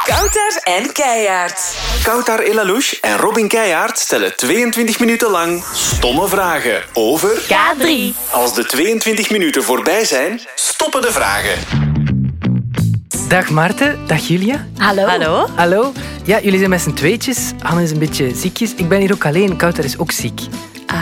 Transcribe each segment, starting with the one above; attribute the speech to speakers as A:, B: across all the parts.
A: Kouter en Keijaard.
B: Koutar Elalouche en Robin Keijaard stellen 22 minuten lang stomme vragen over...
C: K3.
B: Als de 22 minuten voorbij zijn, stoppen de vragen.
D: Dag Maarten, dag Julia.
C: Hallo.
E: Hallo?
D: Hallo. Ja, jullie zijn met z'n tweetjes. Hanne is een beetje ziekjes. Ik ben hier ook alleen. Kouter is ook ziek.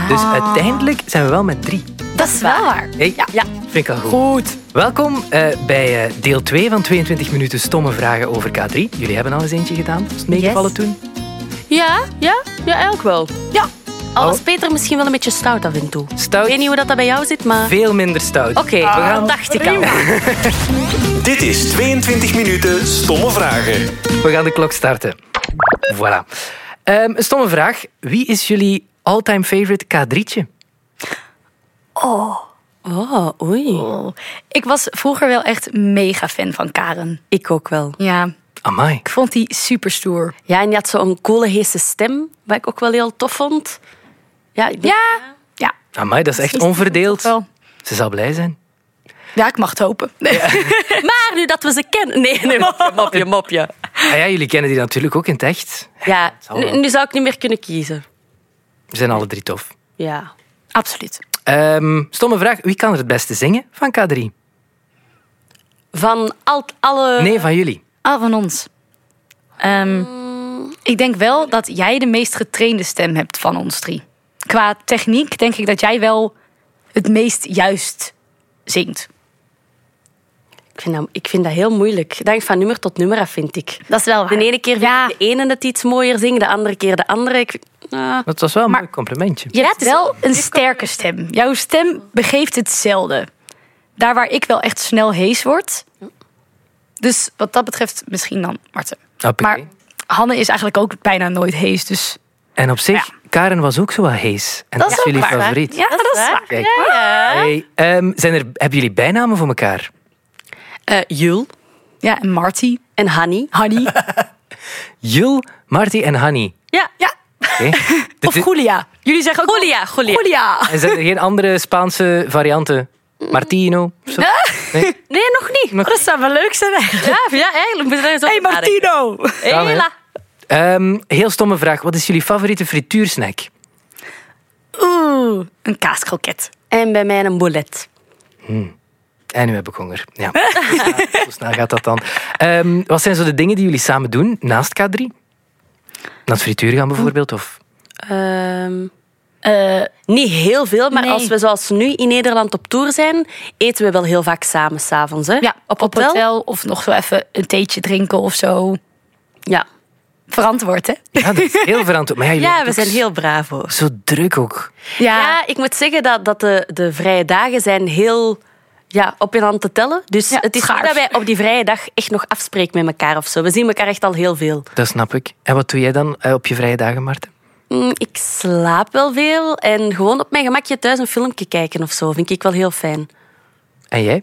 D: Dus uiteindelijk zijn we wel met drie.
C: Dat is wel waar.
D: Hey,
C: Ja. Ja.
D: Vind ik al goed. Goed. Welkom eh, bij eh, deel 2 van 22 minuten stomme vragen over K3. Jullie hebben al eens eentje gedaan. Is het meegevallen
C: Yes.
D: toen?
E: Ja, ja, ja, eigenlijk wel.
C: Ja.
E: Al
D: Oh.
E: was Peter misschien wel een beetje stout af en toe.
D: Stout.
E: Ik weet niet hoe dat, dat bij jou zit, maar...
D: Veel minder stout.
E: Oké,
C: Ah.
E: dat dacht ik al.
B: Dit is 22 minuten stomme vragen.
D: We gaan de klok starten. Voilà. Ehm, een stomme vraag. Wie is jullie all-time favorite K3'tje?
E: Oh, oei.
C: Oh. Ik was vroeger wel echt mega fan van Karen.
E: Ik ook wel.
C: Ja.
D: Amai.
C: Ik vond die super stoer.
E: Ja, en die had zo'n coole, heese stem, wat ik ook wel heel tof vond. Ja, ik denk-
C: Ja. Ja.
D: Amai, dat is echt onverdeeld.
C: Wel.
D: Ze zal blij zijn.
C: Ja, ik mag het hopen.
E: Maar nu dat we ze kennen... Nee, nee, mopje, mopje, mopje.
D: Ah ja, jullie kennen die natuurlijk ook in het echt.
E: Ja,
D: Zal wel.
E: nu, nu zou ik niet meer kunnen kiezen.
D: Ze zijn alle drie tof.
E: Ja.
C: Absoluut.
D: Ehm, stomme vraag. Wie kan er het beste zingen van K3?
E: Van al, alle...
D: Nee, van jullie.
C: Al van ons. Ehm, ik denk wel dat jij de meest getrainde stem hebt van ons drie. Qua techniek denk ik dat jij wel het meest juist zingt.
E: Ik vind, dat, ik vind dat heel moeilijk. Dat hangt van nummer tot nummer af, vind ik.
C: Dat is wel waar.
E: De ene keer vind
C: Ja.
E: ik de ene het iets mooier zingt, de andere keer de andere. Ik, Ah.
D: Dat was wel een
C: Maar-
D: mooi complimentje.
C: Je hebt wel een sterke stem. Jouw stem begeeft het zelden. Daar waar ik wel echt snel hees word. Dus wat dat betreft misschien dan Marten.
D: Hoppakee.
C: Maar Hanne is eigenlijk ook bijna nooit hees. Dus
D: En op zich, Karen was ook zo wel hees. En dat, is
C: ook
D: jullie
C: waar.
D: favoriet.
C: Ja, dat is waar.
D: Kijk.
E: Ah.
D: Hey, ehm, zijn er, hebben jullie bijnamen voor elkaar?
E: Eh, Jul
C: Ja, en Marty.
E: en Hanny.
C: Honey.
D: Jul, Marty en Hanny.
E: Ja.
C: Ja.
D: Oké. Dit
C: Of
D: is-
C: Julia. Jullie zeggen ook
E: Julia, Julia.
C: Julia.
D: en zijn er geen andere Spaanse varianten? Martino? of zo? Nee?
E: Nee, nog niet.
D: Nog-
C: Dat zou wel leuk zijn eigenlijk.
E: Ja, ja, eigenlijk. Moet je daar eens
C: Hey
E: over nadenken.
C: Martino.
D: Kan, hè?
E: Hela.
D: Ehm, heel stomme vraag. Wat is jullie favoriete frituursnack?
C: Oeh, een kaaskroket.
E: En bij mij een bullet.
D: En nu heb ik honger. Ja. Hoe snel- Hoe snel gaat dat dan? Ehm, wat zijn zo de dingen die jullie samen doen naast K3? Naar het frituur gaan bijvoorbeeld? Of...
E: Ehm,
C: Eh,
E: niet heel veel, maar
C: Nee.
E: als we zoals nu in Nederland op tour zijn, eten we wel heel vaak samen s'avonds.
C: ja, op, op hotel of nog zo even een theetje drinken of zo.
E: Ja.
C: Verantwoord, hè?
D: Ja, dat is heel verantwoord. Maar ja, jullie
E: ja,
D: hebben
E: we
D: het
E: zijn
D: ook
E: heel braaf hoor.
D: Zo druk ook.
E: Dus Ja, ik moet zeggen dat, dat de, de vrije dagen zijn heel ja, op een hand te tellen. Dus
C: Ja,
E: het is niet
C: schaars.
E: dat wij op die vrije dag echt nog afspreken met elkaar of zo. We zien elkaar echt al heel veel.
D: Dat snap ik. En wat doe jij dan eh, op je vrije dagen, Maarten?
E: Mm, Ik slaap wel veel en gewoon op mijn gemakje thuis een filmpje kijken of zo vind ik wel heel fijn.
D: En jij?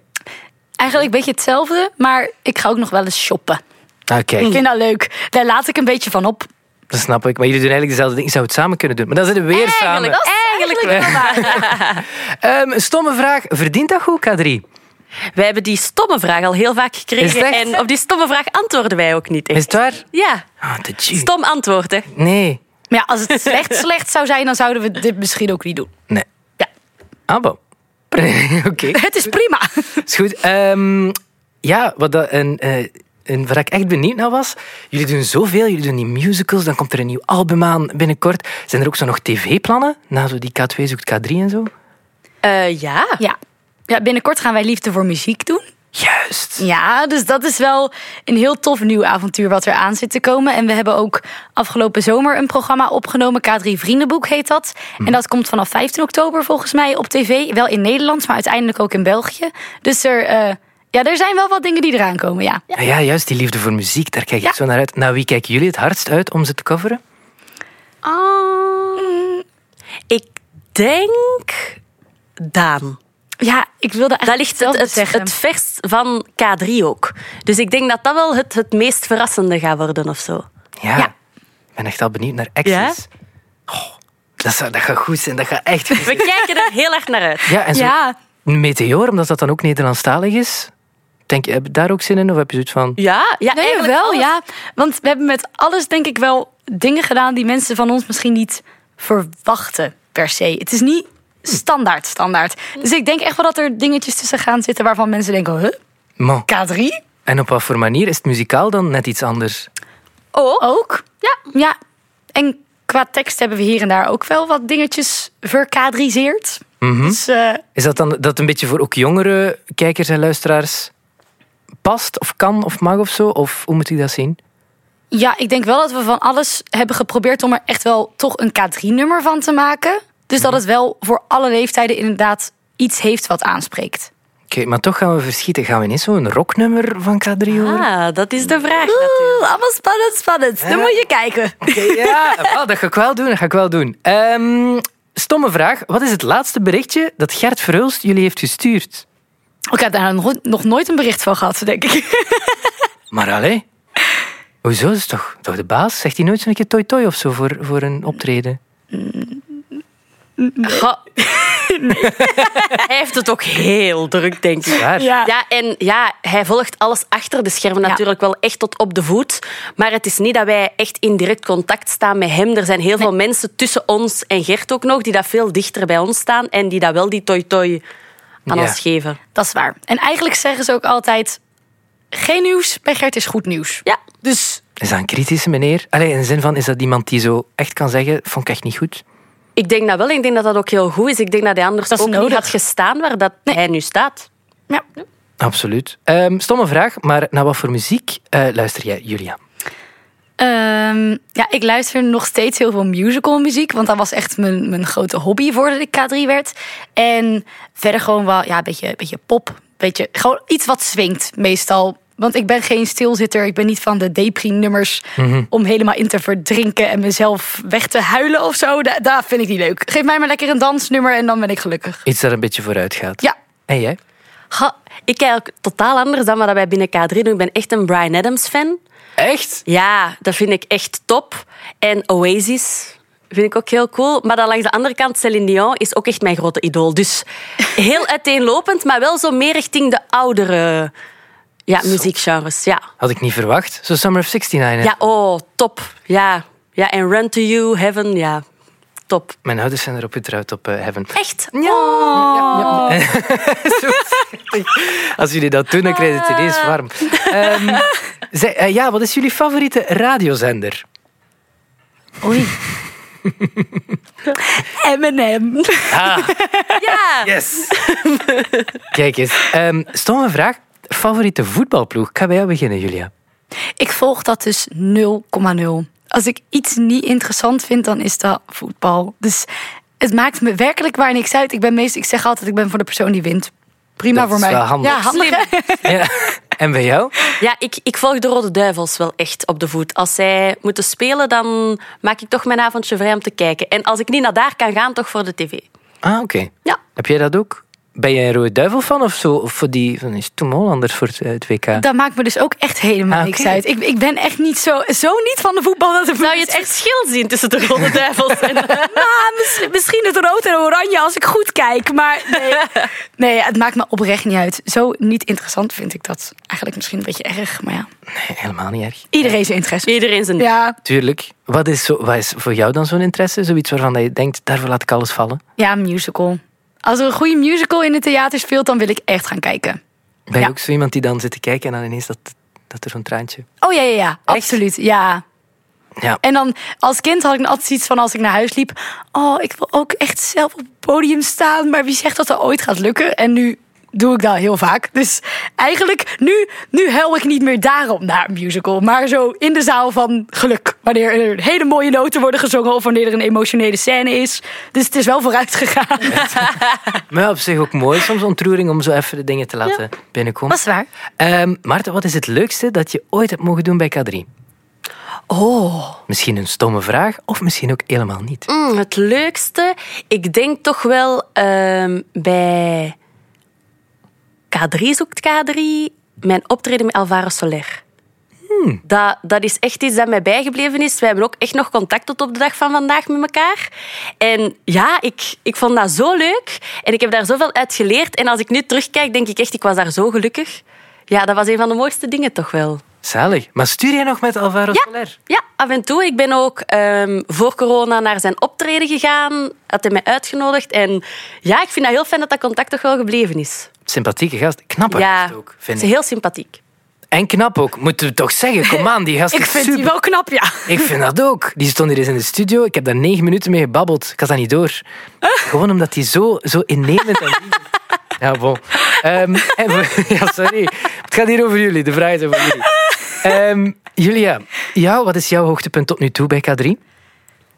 C: Eigenlijk een beetje hetzelfde, maar ik ga ook nog wel eens shoppen.
D: Nou, kijk,
C: Ik vind dat leuk. Daar laat ik een beetje van op.
D: dat snap ik. Maar jullie doen eigenlijk dezelfde dingen. Je zou het samen kunnen doen. Maar dan zitten we
E: Ah,
D: weer samen.
C: dat is
E: Eigenlijk
D: Ehm, een stomme vraag. Verdient dat goed, K3?
E: Wij hebben die stomme vraag al heel vaak
D: Is het
E: gekregen.
D: echt?
E: En op die stomme vraag antwoorden wij ook niet
D: Is
E: echt.
D: het waar?
E: Ja,
D: Ah, de G.
E: stom antwoord, hè.
D: Nee.
C: Maar ja, als het slecht slecht zou zijn, dan zouden we dit misschien ook niet doen.
D: Nee.
C: Ja.
D: Abo. Oké.
C: Het is prima.
D: Is goed. Ehm, ja, wat, dat, en, eh, en waar ik echt benieuwd naar was. Jullie doen zoveel, jullie doen die musicals. Dan komt er een nieuw album aan binnenkort. Zijn er ook zo nog tv-plannen? Na zo die K2 zoekt K3 en zo?
E: Eh, ja.
C: Ja. ja, binnenkort gaan wij Liefde voor Muziek doen.
D: Juist.
C: Ja, dus dat is wel een heel tof nieuw avontuur wat er aan zit te komen. En we hebben ook afgelopen zomer een programma opgenomen. K3 Vriendenboek heet dat. En dat komt vanaf 15 oktober volgens mij op tv. Wel in Nederland, maar uiteindelijk ook in België. Dus er, eh, ja, er zijn wel wat dingen die eraan komen, ja.
D: Ja. Ah ja, juist. Die liefde voor muziek, daar kijk
C: Ja.
D: ik zo naar uit. Naar wie kijken jullie het hardst uit om ze te coveren?
C: Ah.
E: Ik denk... Daan.
C: Ja, ik wilde eigenlijk
E: Dat ligt het,
C: hetzelfde
E: het,
C: zeggen.
E: het verst van K3 ook. Dus ik denk dat dat wel het, het meest verrassende gaat worden of zo.
D: Ja.
C: Ja.
D: Ik ben echt al benieuwd naar acties.
E: Ja?
D: Oh, dat, zou, dat gaat goed zijn. Dat gaat echt goed
E: We kijken er heel erg naar uit.
D: Ja, en zo
C: Ja.
D: een meteor, omdat dat dan ook Nederlandstalig is. Denk, je- heb je daar ook zin in? Of heb je zoiets van...
E: Ja, ja
C: Nee,
E: eigenlijk
C: wel,
E: alles.
C: ja. Want we hebben met alles denk ik wel dingen gedaan die mensen van ons misschien niet verwachten per se. Het is niet standaard standaard. Dus ik denk echt wel dat er dingetjes tussen gaan zitten waarvan mensen denken, huh?
D: Man.
C: K3?
D: En op wat voor manier? Is het muzikaal dan net iets anders?
E: Ook.
C: Ook?
E: Oh. Ja.
C: Ja. En qua tekst hebben we hier en daar ook wel wat dingetjes verkadriseerd. Dus eh,
D: Is dat dan dat een beetje voor ook jongere kijkers en luisteraars past of kan of mag of zo? Of hoe moet ik dat zien?
C: ja, ik denk wel dat we van alles hebben geprobeerd om er echt wel toch een K3-nummer van te maken. Dus dat het wel voor alle leeftijden inderdaad iets heeft wat aanspreekt.
D: Oké, maar toch gaan we verschieten. Gaan we ineens zo'n rocknummer van K3 horen?
E: Ah, dat is de vraag.
C: Oeh, allemaal spannend, spannend. Dan moet je kijken.
D: Ja, wel, dat ga ik wel doen. Dat ga ik wel doen. Ehm, stomme vraag. Wat is het laatste berichtje dat Gert Verhulst jullie heeft gestuurd?
C: Ik heb daar nog, nog nooit een bericht van gehad, denk ik.
D: Maar allee. Hoezo? Dat is toch, toch de baas? Zegt hij nooit zo'n keer toi toi of zo voor, voor een optreden?
E: Ga- hij heeft het ook heel druk, denk ik.
D: Waar?
C: Ja.
E: Ja, en ja, hij volgt alles achter de schermen
C: Ja.
E: natuurlijk wel echt tot op de voet. Maar het is niet dat wij echt in direct contact staan met hem. Er zijn heel veel mensen tussen ons en Gert ook nog die dat veel dichter bij ons staan en die dat wel die toi-toi aan
D: Ja.
E: ons geven.
C: Dat is waar. En eigenlijk zeggen ze ook altijd... Geen nieuws bij Gert is goed nieuws.
E: Ja.
C: Dus
D: Is dat een kritische meneer? Allee, in de zin van, is dat iemand die zo echt kan zeggen, vond ik echt niet goed?
E: Ik denk dat wel. Ik denk dat dat ook heel goed is. Ik denk dat hij anders
C: Dat is
E: ook niet
C: nodig.
E: had gestaan waar dat hij nu staat.
C: ja.
D: Absoluut. Ehm, stomme vraag, maar naar wat voor muziek eh, luister jij, Julia?
C: Ehm, ja, ik luister nog steeds heel veel musical muziek. Want dat was echt mijn, mijn grote hobby voordat ik K3 werd. En verder gewoon wel ja, een beetje, een beetje pop. Beetje, gewoon iets wat swingt meestal. Want ik ben geen stilzitter. Ik ben niet van de depri-nummers om helemaal in te verdrinken en mezelf weg te huilen of zo. Da- dat vind ik niet leuk. Geef mij maar lekker een dansnummer en dan ben ik gelukkig.
D: Iets dat een beetje vooruit gaat.
C: Ja,
D: En jij?
E: Ha, ik kijk eigenlijk totaal anders dan wat wij binnen K3 doen. Ik ben echt een Brian Adams-fan.
D: Echt?
E: Ja, dat vind ik echt top. En Oasis vind ik ook heel cool. Maar dan langs de andere kant, Céline Dion is ook echt mijn grote idool. Dus heel uiteenlopend, maar wel zo meer richting de oudere ja, muziekgenres. Ja.
D: Had ik niet verwacht. Zo Summer of 69. hè?
E: ja, oh, top. Ja. ja, en Run to You, Heaven, ja, top.
D: Mijn ouders zijn erop getrouwd op eh, Heaven.
E: Echt?
D: Ja. Ja, ja. Zo schattig. Als jullie dat doen, dan krijg je het ineens warm. Ehm, zij- eh, ja, wat is jullie favoriete radiozender?
C: oei. Eminem.
E: Ja!
D: Yes! Kijk eens. Ehm, stomme vraag. Favoriete voetbalploeg? Ik ga bij jou beginnen, Julia.
C: Ik volg dat dus 0,0. Als ik iets niet interessant vind, dan is dat voetbal. Dus het maakt me werkelijk waar niks uit. Ik ben meest, ik zeg altijd, ik ben voor de persoon die wint. Prima
D: Dat
C: voor
D: is
C: mij.
D: wel handig.
C: Ja, handig. hè?
D: Ja. En bij jou?
E: Ja, ik, ik volg de Rode Duivels wel echt op de voet. Als zij moeten spelen, dan maak ik toch mijn avondje vrij om te kijken. En als ik niet naar daar kan gaan, toch voor de tv.
D: Ah, oké.
E: Ja.
D: Heb jij dat ook? Ben jij een rode duivel van of zo? Of voor die van is Tom Hollanders voor het, eh, het WK?
C: Dat maakt me dus ook echt helemaal
D: Ah,
C: niks
D: oké.
C: uit. Ik, ik ben echt niet zo, zo niet van de voetbal. Dat het dus
E: Zou je het echt verschil zien tussen de rode duivels en de...
C: Nou, misschien, misschien het rood en oranje als ik goed kijk. Maar nee. nee, het maakt me oprecht niet uit. Zo niet interessant vind ik dat. Eigenlijk misschien een beetje erg, maar ja.
D: Nee, helemaal niet erg.
C: Iedereen zijn interesse.
E: Iedereen zijn...
C: Ja,
D: Tuurlijk. Wat is, zo, wat is voor jou dan zo'n interesse? Zoiets waarvan dat je denkt, daarvoor laat ik alles vallen.
C: Ja, musical. Als er een goede musical in het theater speelt, dan wil ik echt gaan kijken.
D: Ben je
C: Ja.
D: ook zo iemand die dan zit te kijken en dan ineens dat, dat er zo'n traantje...
C: Oh ja, ja, ja. Absoluut, ja.
D: Ja.
C: En dan als kind had ik altijd iets van als ik naar huis liep... Oh, ik wil ook echt zelf op het podium staan. Maar wie zegt dat dat ooit gaat lukken? En nu doe ik dat heel vaak. Dus eigenlijk, nu, nu huil ik niet meer daarom naar een musical. Maar zo in de zaal van geluk. Wanneer er hele mooie noten worden gezongen... of wanneer er een emotionele scène is. Dus het is wel vooruit gegaan.
D: Maar ja, op zich ook mooi, soms ontroering om zo even de dingen te laten binnenkomen.
C: Dat is waar.
D: Ehm, Maarten, wat is het leukste dat je ooit hebt mogen doen bij K3?
E: Oh.
D: Misschien een stomme vraag, of misschien ook helemaal niet.
E: Mm, het leukste, ik denk toch wel ehm, bij K3 zoekt K3, mijn optreden met Alvaro Soler. Dat, dat is echt iets dat mij bijgebleven is. Wij hebben ook echt nog contact tot op de dag van vandaag met elkaar. En ja, ik, ik vond dat zo leuk en ik heb daar zoveel uit geleerd. En als ik nu terugkijk, denk ik echt, ik was daar zo gelukkig. Ja, dat was een van de mooiste dingen toch wel.
D: Zalig. Maar stuur jij nog met Alvaro
E: Ja.
D: Soler?
E: Ja, af en toe. Ik ben ook ehm, voor corona naar zijn optreden gegaan. Had hij mij uitgenodigd. En ja, ik vind dat heel fijn dat dat contact toch wel gebleven is.
D: Sympathieke gast. Knappe
E: ja,
D: gast ook,
E: ze
D: vind
E: is
D: ik.
E: heel sympathiek.
D: En knap ook, moeten we toch zeggen. Kom aan, die gast
C: Ik
D: is
C: vind
D: super.
C: die wel knap, ja.
D: Ik vind dat ook. Die stond hier eens in de studio. Ik heb daar negen minuten mee gebabbeld. Ik had dat niet door. Gewoon omdat hij zo, zo innemend en lief is. Ja, bon. Ehm, en we- ja, sorry. Het gaat hier over jullie. De vraag is over jullie. Ehm, Julia, jou, wat is jouw hoogtepunt tot nu toe bij K3?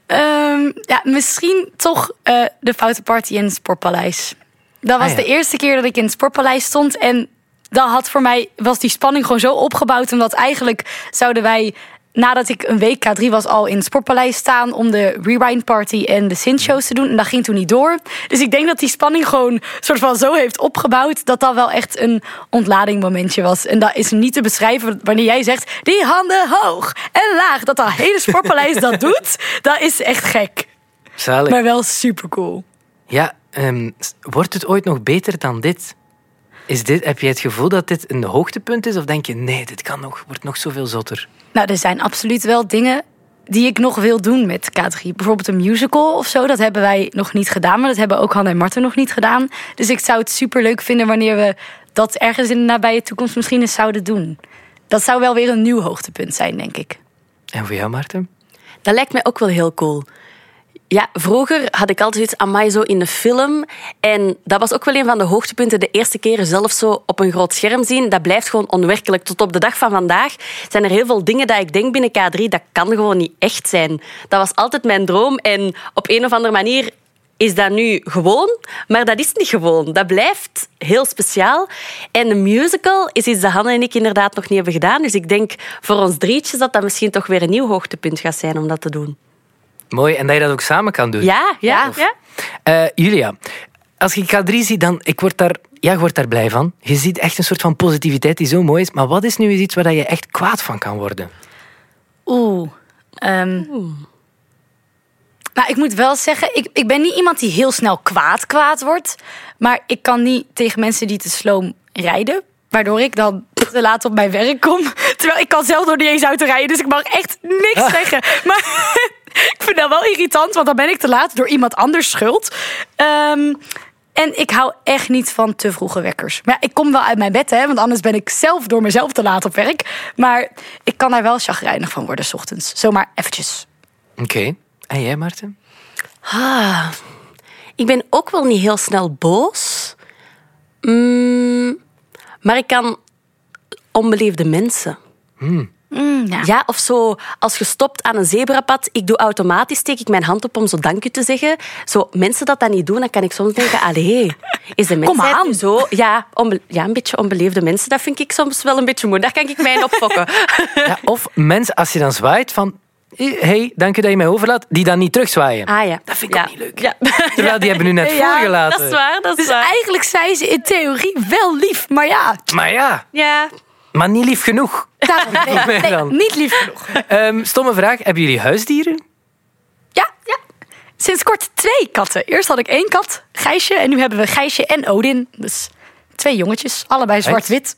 C: Ehm, ja, misschien toch eh, de foute party in het Sportpaleis. Dat was
D: ja.
C: de eerste keer dat ik in het Sportpaleis stond. En dat had voor mij, was die spanning gewoon zo opgebouwd. Omdat eigenlijk zouden wij, nadat ik een week K3 was, al in het Sportpaleis staan. om de Rewind Party en de Sint-shows te doen. En dat ging toen niet door. Dus ik denk dat die spanning gewoon soort van zo heeft opgebouwd. dat dat wel echt een ontladingmomentje was. En dat is niet te beschrijven wanneer jij zegt. die handen hoog en laag. Dat dat hele Sportpaleis dat doet. Dat is echt gek.
D: Zalig.
C: Maar wel super cool.
D: Ja, ehm, s- wordt het ooit nog beter dan dit? Is dit? Heb jij het gevoel dat dit een hoogtepunt is? Of denk je, nee, dit kan nog, wordt nog zoveel zotter?
C: Nou, er zijn absoluut wel dingen die ik nog wil doen met K3. Bijvoorbeeld een musical of zo. Dat hebben wij nog niet gedaan. Maar dat hebben ook Han en Marten nog niet gedaan. Dus ik zou het super leuk vinden wanneer we dat ergens in de nabije toekomst misschien eens zouden doen. Dat zou wel weer een nieuw hoogtepunt zijn, denk ik.
D: En voor jou, Maarten?
E: Dat lijkt mij ook wel heel cool. Ja, vroeger had ik altijd iets aan zo in de film. En dat was ook wel een van de hoogtepunten. De eerste keren zelf zo op een groot scherm zien. Dat blijft gewoon onwerkelijk. Tot op de dag van vandaag zijn er heel veel dingen dat ik denk binnen K3. Dat kan gewoon niet echt zijn. Dat was altijd mijn droom. En op een of andere manier is dat nu gewoon. Maar dat is niet gewoon. Dat blijft heel speciaal. En een musical is iets dat Hanne en ik inderdaad nog niet hebben gedaan. Dus ik denk voor ons drietjes dat dat misschien toch weer een nieuw hoogtepunt gaat zijn om dat te doen.
D: Mooi, en dat je dat ook samen kan doen.
E: Ja, ja,
C: Tof.
E: ja.
D: Eh, Julia, als ik K3 zie, dan ik word daar, ja, ik word daar blij van. Je ziet echt een soort van positiviteit die zo mooi is. Maar wat is nu eens iets waar dat je echt kwaad van kan worden?
C: Oeh. ehm. Nou, ik moet wel zeggen, ik, ik ben niet iemand die heel snel kwaad kwaad wordt. Maar ik kan niet tegen mensen die te sloom rijden. Waardoor ik dan te laat op mijn werk kom. Terwijl ik kan zelf nog niet eens uit te rijden. Dus ik mag echt niks zeggen. Maar ik vind dat wel irritant, want dan ben ik te laat door iemand anders schuld. Ehm, en ik hou echt niet van te vroege wekkers. Maar ja, ik kom wel uit mijn bed, hè, want anders ben ik zelf door mezelf te laat op werk. Maar ik kan daar wel chagrijnig van worden, s ochtends. Zomaar eventjes.
D: Oké. En jij, Maarten?
E: Ah, ik ben ook wel niet heel snel boos. Mm, maar ik kan onbeleefde mensen.
C: ja.
E: Ja, of zo, als je stopt aan een zebrapad, ik doe automatisch, steek ik mijn hand op om zo dank u te zeggen. Zo, mensen dat dat niet doen, dan kan ik soms denken, allee, is de mensheid
C: aan.
E: nu zo? Ja, onbe- ja, een beetje onbeleefde mensen, dat vind ik soms wel een beetje moe. Daar kan ik mij in opfokken.
D: Ja, of mensen, als je dan zwaait van... "Eh, hey, dank je dat je mij overlaat, die dan niet terugzwaaien.
E: Ah ja. Dat vind ik
D: ook
E: niet leuk. Ja.
D: Terwijl die hebben nu net
E: Ja,
D: voorgelaten.
E: dat is waar, dat is
C: Dus
E: waar.
C: eigenlijk zijn ze in theorie wel lief, maar ja,
D: Maar ja,
E: Ja.
D: maar niet lief genoeg.
C: daarom- nee,
D: mij
C: nee,
D: dan.
C: niet lief genoeg.
D: Ehm, stomme vraag, hebben jullie huisdieren?
C: Ja, ja. Sinds kort twee katten. Eerst had ik één kat, Gijsje, en nu hebben we Gijsje en Odin. Dus twee jongetjes, allebei zwart-wit.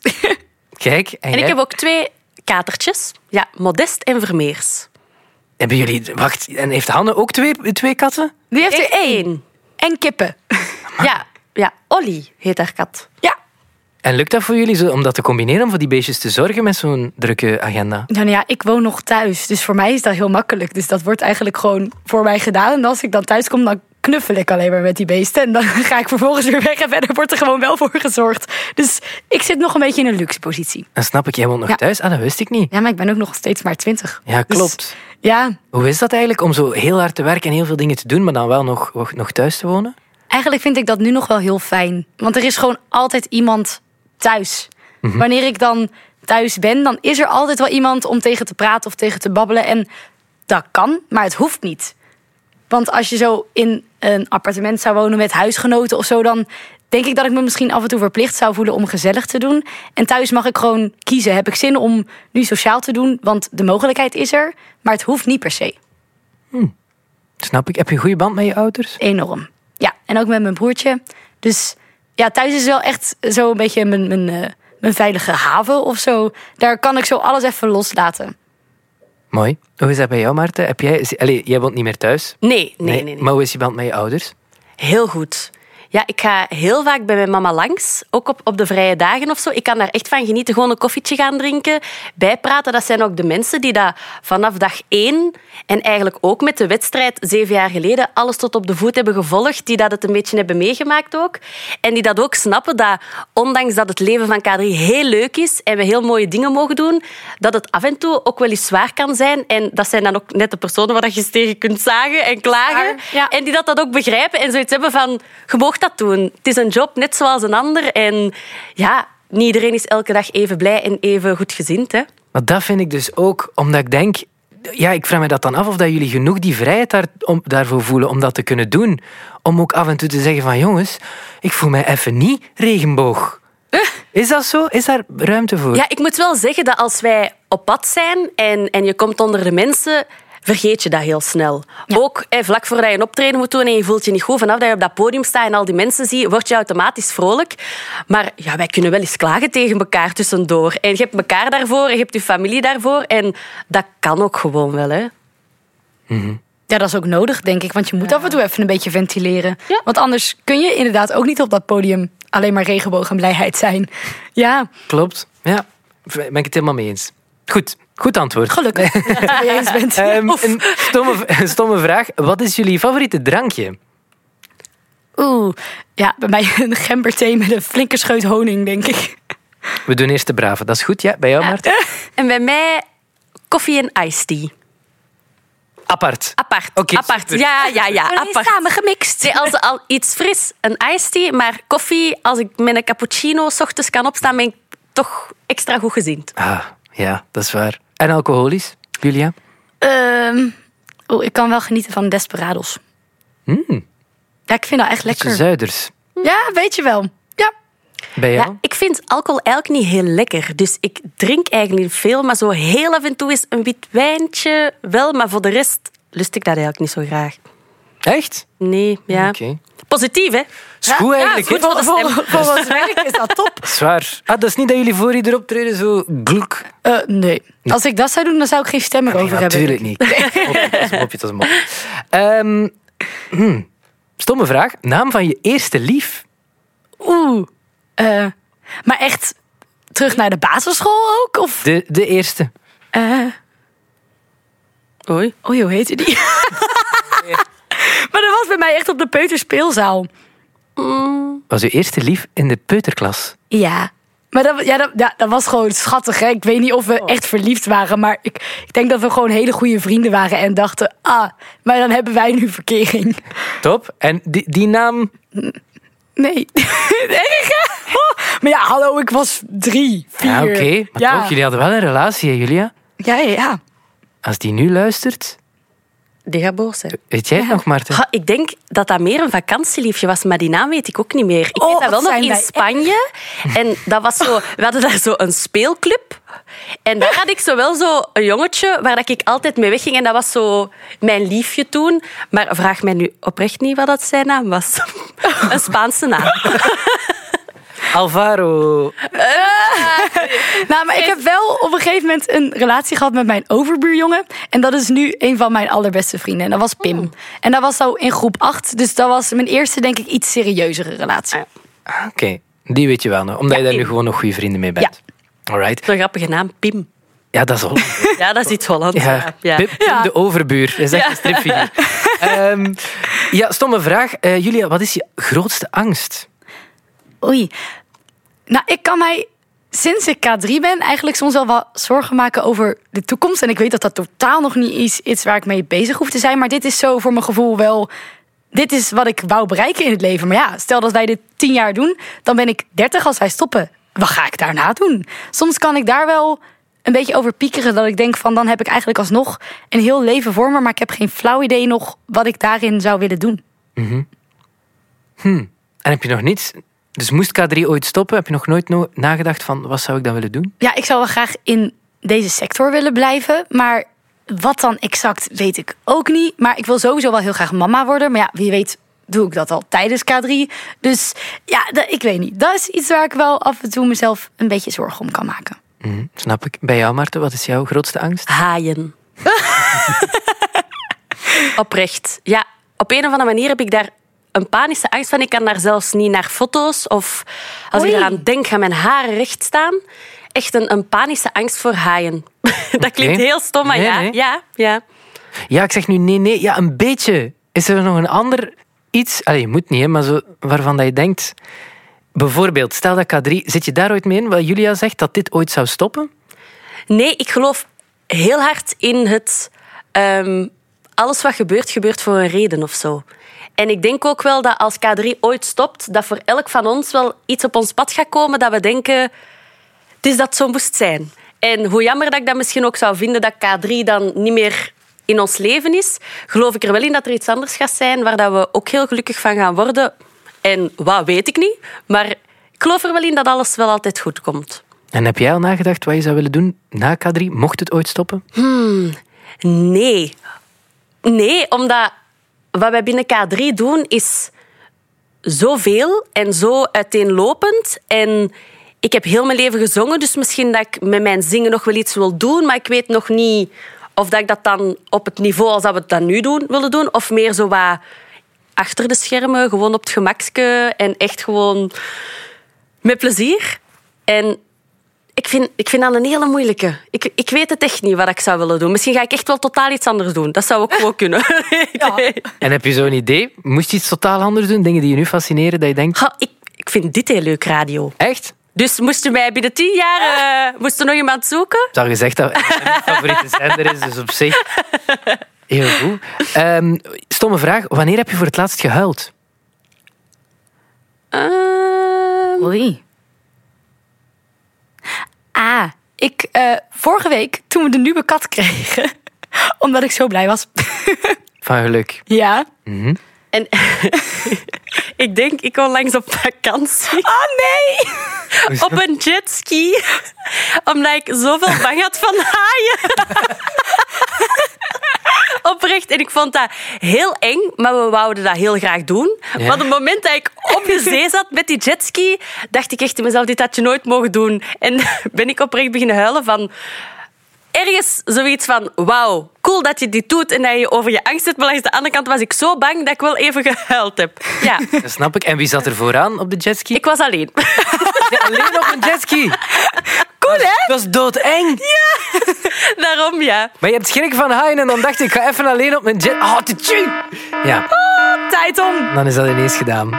D: Kijk, en,
E: En
D: jij?
E: ik heb ook twee katertjes. Ja, Modest en Vermeers.
D: Hebben jullie... Wacht, en heeft Hanne ook twee, twee katten?
C: Die heeft er
E: Ik
C: één. En kippen.
E: Ja, ja, Olly heet haar kat.
C: Ja.
D: En lukt dat voor jullie zo, om dat te combineren, om voor die beestjes te zorgen met zo'n drukke agenda?
C: Nou ja, ik woon nog thuis, dus voor mij is dat heel makkelijk. Dus dat wordt eigenlijk gewoon voor mij gedaan. En als ik dan thuis kom, dan knuffel ik alleen maar met die beesten. En dan ga ik vervolgens weer weg en verder wordt er gewoon wel voor gezorgd. Dus ik zit nog een beetje in een luxe positie.
D: Dan snap ik, jij woont nog
C: Ja.
D: thuis? Ah, dat wist ik niet.
C: Ja, maar ik ben ook nog steeds maar twintig. Dus
D: Ja, klopt.
C: Ja,
D: Hoe is dat eigenlijk om zo heel hard te werken en heel veel dingen te doen, maar dan wel nog, nog- nog thuis te wonen?
C: Eigenlijk vind ik dat nu nog wel heel fijn. Want er is gewoon altijd iemand thuis. Wanneer ik dan thuis ben, dan is er altijd wel iemand om tegen te praten of tegen te babbelen. En dat kan, maar het hoeft niet. Want als je zo in een appartement zou wonen met huisgenoten of zo, dan denk ik dat ik me misschien af en toe verplicht zou voelen om gezellig te doen. En thuis mag ik gewoon kiezen. Heb ik zin om nu sociaal te doen? Want de mogelijkheid is er, maar het hoeft niet per se.
D: Snap ik. Heb je een goede band met je ouders?
C: enorm. Ja, en ook met mijn broertje. Dus ja, thuis is wel echt zo'n beetje mijn, mijn, eh, een veilige haven of zo. Daar kan ik zo alles even loslaten.
D: Mooi. Hoe is dat bij jou, Maarten? Heb jij... is- Allee, jij woont niet meer thuis.
E: Nee, nee, nee. nee,
D: Maar hoe is je band met je ouders?
E: Heel goed. Ja, ik ga heel vaak bij mijn mama langs, ook op, op de vrije dagen of zo. Ik kan daar echt van genieten, gewoon een koffietje gaan drinken, bijpraten. Dat zijn ook de mensen die dat vanaf dag één en eigenlijk ook met de wedstrijd zeven jaar geleden alles tot op de voet hebben gevolgd, die dat het een beetje hebben meegemaakt ook. En die dat ook snappen dat, ondanks dat het leven van K3 heel leuk is en we heel mooie dingen mogen doen, dat het af en toe ook wel eens zwaar kan zijn. En dat zijn dan ook net de personen waar dat je eens tegen kunt zagen en klagen.
C: Ja.
E: En die dat, dat ook begrijpen en zoiets hebben van... Je mag dat doen. Het is een job, net zoals een ander. En ja, niet iedereen is elke dag even blij en even goed gezind. Hè?
D: Maar dat vind ik dus ook, omdat ik denk... Ja, ik vraag me dat dan af of dat jullie genoeg die vrijheid daar, om, daarvoor voelen om dat te kunnen doen. Om ook af en toe te zeggen van jongens, ik voel mij even niet regenboog. Is dat zo? Is daar ruimte voor?
E: Ja, ik moet wel zeggen dat als wij op pad zijn en, en je komt onder de mensen, vergeet je dat heel snel. Ook eh, vlak voordat je een optreden moet doen en je voelt je niet goed, vanaf dat je op dat podium staat en al die mensen ziet, word je automatisch vrolijk. Maar ja, wij kunnen wel eens klagen tegen elkaar tussendoor. En je hebt elkaar daarvoor en je hebt je familie daarvoor. En dat kan ook gewoon wel, hè.
C: Ja, dat is ook nodig, denk ik. Want je moet af en toe even een beetje ventileren. Want anders kun je inderdaad ook niet op dat podium alleen maar regenboog en blijheid zijn. Ja,
D: Klopt. Ja, ben ik het helemaal mee eens. Goed, goed antwoord.
C: gelukkig dat je het mee eens bent.
D: Ehm,
C: Of-
D: een stomme, een stomme vraag. Wat is jullie favoriete drankje?
C: Oeh, ja, bij mij een gemberthee met een flinke scheut honing, denk ik.
D: We doen eerst de brave. Dat is goed, ja? Bij jou, Maarten?
E: En bij mij koffie en iced tea.
D: Apart.
E: Apart.
D: Oké,
E: apart.
D: super.
E: Ja, ja, ja. Apart.
C: Samen gemixt.
E: Nee, als al iets fris, een iced tea, maar koffie, als ik met een cappuccino 's ochtends kan opstaan, ben ik toch extra goed gezind.
D: Ah, ja, dat is waar. En alcoholisch, Julia?
C: Ehm, oeh, ik kan wel genieten van desperados. Ja, ik vind dat echt
D: Beetje
C: lekker.
D: zuiders.
C: Ja, weet je wel. Ja.
D: Bij jou?
E: Ja, ik vind alcohol eigenlijk niet heel lekker. Dus ik drink eigenlijk niet veel, maar zo heel af en toe is een wit wijntje wel. Maar voor de rest lust ik dat eigenlijk niet zo graag.
D: Echt?
E: Nee, ja.
D: Oké.
E: Positief, hè?
D: Is goed eigenlijk.
E: ja,
D: hè?
E: goed voor de
C: Vol-
E: stem. Ah,
C: volgens werk is dat top.
D: Zwaar. Ah, dat is niet dat jullie voor ieder optreden zo gluk.
C: Eh, nee. Als ik dat zou doen, dan zou ik geen stem erover
D: Nee,
C: hebben.
D: natuurlijk niet. Mopje, dat is een mopje, dat is een mopje. Ehm, hmm. Stomme vraag. Naam van je eerste lief?
C: Oeh. Eh, maar echt terug naar de basisschool ook? Of,
D: De, de eerste.
C: eh
E: Oei.
C: oei, hoe heette die? maar dat was bij mij echt op de peuterspeelzaal.
D: Was uw eerste lief in de peuterklas?
C: Ja. Maar dat, ja, dat, ja, dat was gewoon schattig. Hè? Ik weet niet of we echt verliefd waren. Maar ik, ik denk dat we gewoon hele goede vrienden waren. En dachten, ah, maar dan hebben wij nu verkering.
D: Top. En die, die naam?
C: Nee. Erg, hè? Oh, Maar ja, hallo, ik was drie, vier.
D: Ja, Ah, oké. Maar
C: ja.
D: toch, jullie hadden wel een relatie, hè, Julia?
C: Ja, ja, ja.
D: Als die nu luistert,
E: Die gaat boos zijn.
D: weet jij het nog, Maarten?
E: Ha, ik denk dat dat meer een vakantieliefje was, maar die naam weet ik ook niet meer. Ik
C: Oh,
E: weet dat wel
C: wat
E: nog
C: zijn
E: in
C: wij
E: Spanje. En dat was zo, we hadden daar zo een speelclub. En daar had ik zo wel zo een jongetje waar dat ik altijd mee wegging. En dat was zo mijn liefje toen. Maar vraag mij nu oprecht niet wat dat zijn naam was. Een Spaanse naam.
D: Alvaro.
C: Nou, maar ik heb wel op een gegeven moment een relatie gehad met mijn overbuurjongen. En dat is nu een van mijn allerbeste vrienden. En dat was Pim. En dat was zo in groep 8. Dus dat was mijn eerste, denk ik, iets serieuzere relatie.
D: Ah, Oké, die weet je wel nog. Omdat je daar nu gewoon nog goede vrienden mee bent. Alright.
E: Zo'n grappige naam, Pim.
D: Ja, dat is al.
E: Ja, dat is iets Hollands.
D: Ja.
E: Ja. Ja.
D: Pip, Pim de overbuur. Dat is echt een stripfiguur. Ehm, ja, stomme vraag. Eh, Julia, wat is je grootste angst?
C: Oei. Nou, ik kan mij sinds ik K3 ben eigenlijk soms wel wat zorgen maken over de toekomst. En ik weet dat dat totaal nog niet is iets waar ik mee bezig hoef te zijn. Maar dit is zo voor mijn gevoel wel... Dit is wat ik wou bereiken in het leven. Maar ja, stel dat wij dit tien jaar doen, dan ben ik dertig als wij stoppen. Wat ga ik daarna doen? Soms kan ik daar wel een beetje over piekeren. Dat ik denk van, dan heb ik eigenlijk alsnog een heel leven voor me. Maar ik heb geen flauw idee nog wat ik daarin zou willen doen.
D: En heb je nog niets? Dus moest K3 ooit stoppen? Heb je nog nooit no- nagedacht van wat zou ik dan willen doen?
C: Ja, ik zou wel graag in deze sector willen blijven. Maar wat dan exact, weet ik ook niet. Maar ik wil sowieso wel heel graag mama worden. Maar ja, wie weet doe ik dat al tijdens K3. Dus ja, dat- ik weet niet. Dat is iets waar ik wel af en toe mezelf een beetje zorgen om kan maken.
D: Hm, snap ik. Bij jou, Maarten, wat is jouw grootste angst?
E: Haaien. Oprecht. Ja, op een of andere manier heb ik daar een panische angst van. Ik kan daar zelfs niet naar foto's of als
C: Oei.
E: ik eraan denk, gaan mijn haren recht staan. Echt een, een panische angst voor haaien. Dat klinkt
D: Oké.
E: heel stom, maar
D: Nee,
E: ja,
D: nee.
E: ja, ja.
D: Ja, ik zeg nu nee, nee. Ja, een beetje. Is er nog een ander iets? Allee, je moet niet, hè, maar zo, waarvan dat je denkt... Bijvoorbeeld, stel dat K3... Zit je daar ooit mee in, wat Julia zegt, dat dit ooit zou stoppen?
E: Nee, ik geloof heel hard in het. ehm, alles wat gebeurt, gebeurt voor een reden of zo. En ik denk ook wel dat als K3 ooit stopt, dat voor elk van ons wel iets op ons pad gaat komen dat we denken. Het is dat zo moest zijn. En hoe jammer dat ik dat misschien ook zou vinden dat K3 dan niet meer in ons leven is, geloof ik er wel in dat er iets anders gaat zijn waar dat we ook heel gelukkig van gaan worden. En wat weet ik niet, maar ik geloof er wel in dat alles wel altijd goed komt.
D: En heb jij al nagedacht wat je zou willen doen na K3, mocht het ooit stoppen?
E: Nee. Nee, omdat wat wij binnen K3 doen is zoveel en zo uiteenlopend. En ik heb heel mijn leven gezongen, dus misschien dat ik met mijn zingen nog wel iets wil doen, maar ik weet nog niet of dat ik dat dan op het niveau als dat we het dan nu doen, willen doen, of meer zo wat achter de schermen, gewoon op het gemakske en echt gewoon met plezier. En ik vind, ik vind dat een hele moeilijke. Ik, ik weet het echt niet wat ik zou willen doen. Misschien ga ik echt wel totaal iets anders doen. Dat zou ook gewoon kunnen. Nee.
D: En heb je zo'n idee? Moest je iets totaal anders doen? Dingen die je nu fascineren, dat je denkt...
E: Ha, ik, ik vind dit heel leuk, radio.
D: Echt?
E: Dus moesten wij binnen tien jaar eh, moest er nog iemand zoeken?
D: Het is al gezegd dat het mijn favoriete zender is, dus op zich... Heel goed. Ehm, stomme vraag. Wanneer heb je voor het laatst gehuild?
E: Ehm,
C: Oei. Ah, ik, eh, vorige week toen we de nieuwe kat kregen, omdat ik zo blij was.
D: Van geluk.
C: ja.
E: en ik denk, ik kon langs op vakantie.
C: Oh nee!
E: Op een jetski. Omdat ik zoveel bang had van haaien. Oprecht. En ik vond dat heel eng, maar we wouden dat heel graag doen.
D: Ja.
E: Maar op het moment dat ik op de zee zat met die jetski, dacht ik echt in mezelf, dit had je nooit mogen doen. En ben ik oprecht beginnen huilen van... Ergens zoiets van, wauw, cool dat je dit doet en dat je over je angst zit. Maar langs de andere kant was ik zo bang dat ik wel even gehuild heb. Ja,
D: Dat snap ik. En wie zat er vooraan op de jetski?
E: ik was alleen.
D: Nee, alleen op een jetski. Cool, hè? Dat is doodeng.
E: Daarom, ja.
D: Maar je hebt schrik van haaien en dan dacht ik, ik ga even alleen op mijn jet... Oh, tjie. Ja,
E: Tijd om.
D: dan is dat ineens gedaan.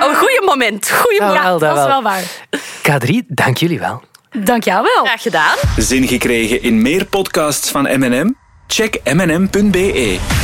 E: Een goede moment. Goeie
D: Dat
E: moment.
D: wel, dat
C: Dat is wel
D: wel.
C: waar.
D: K3, dank jullie wel.
C: Dank jou wel.
E: Graag gedaan.
B: Zin gekregen in meer podcasts van M&M? Check mm.be.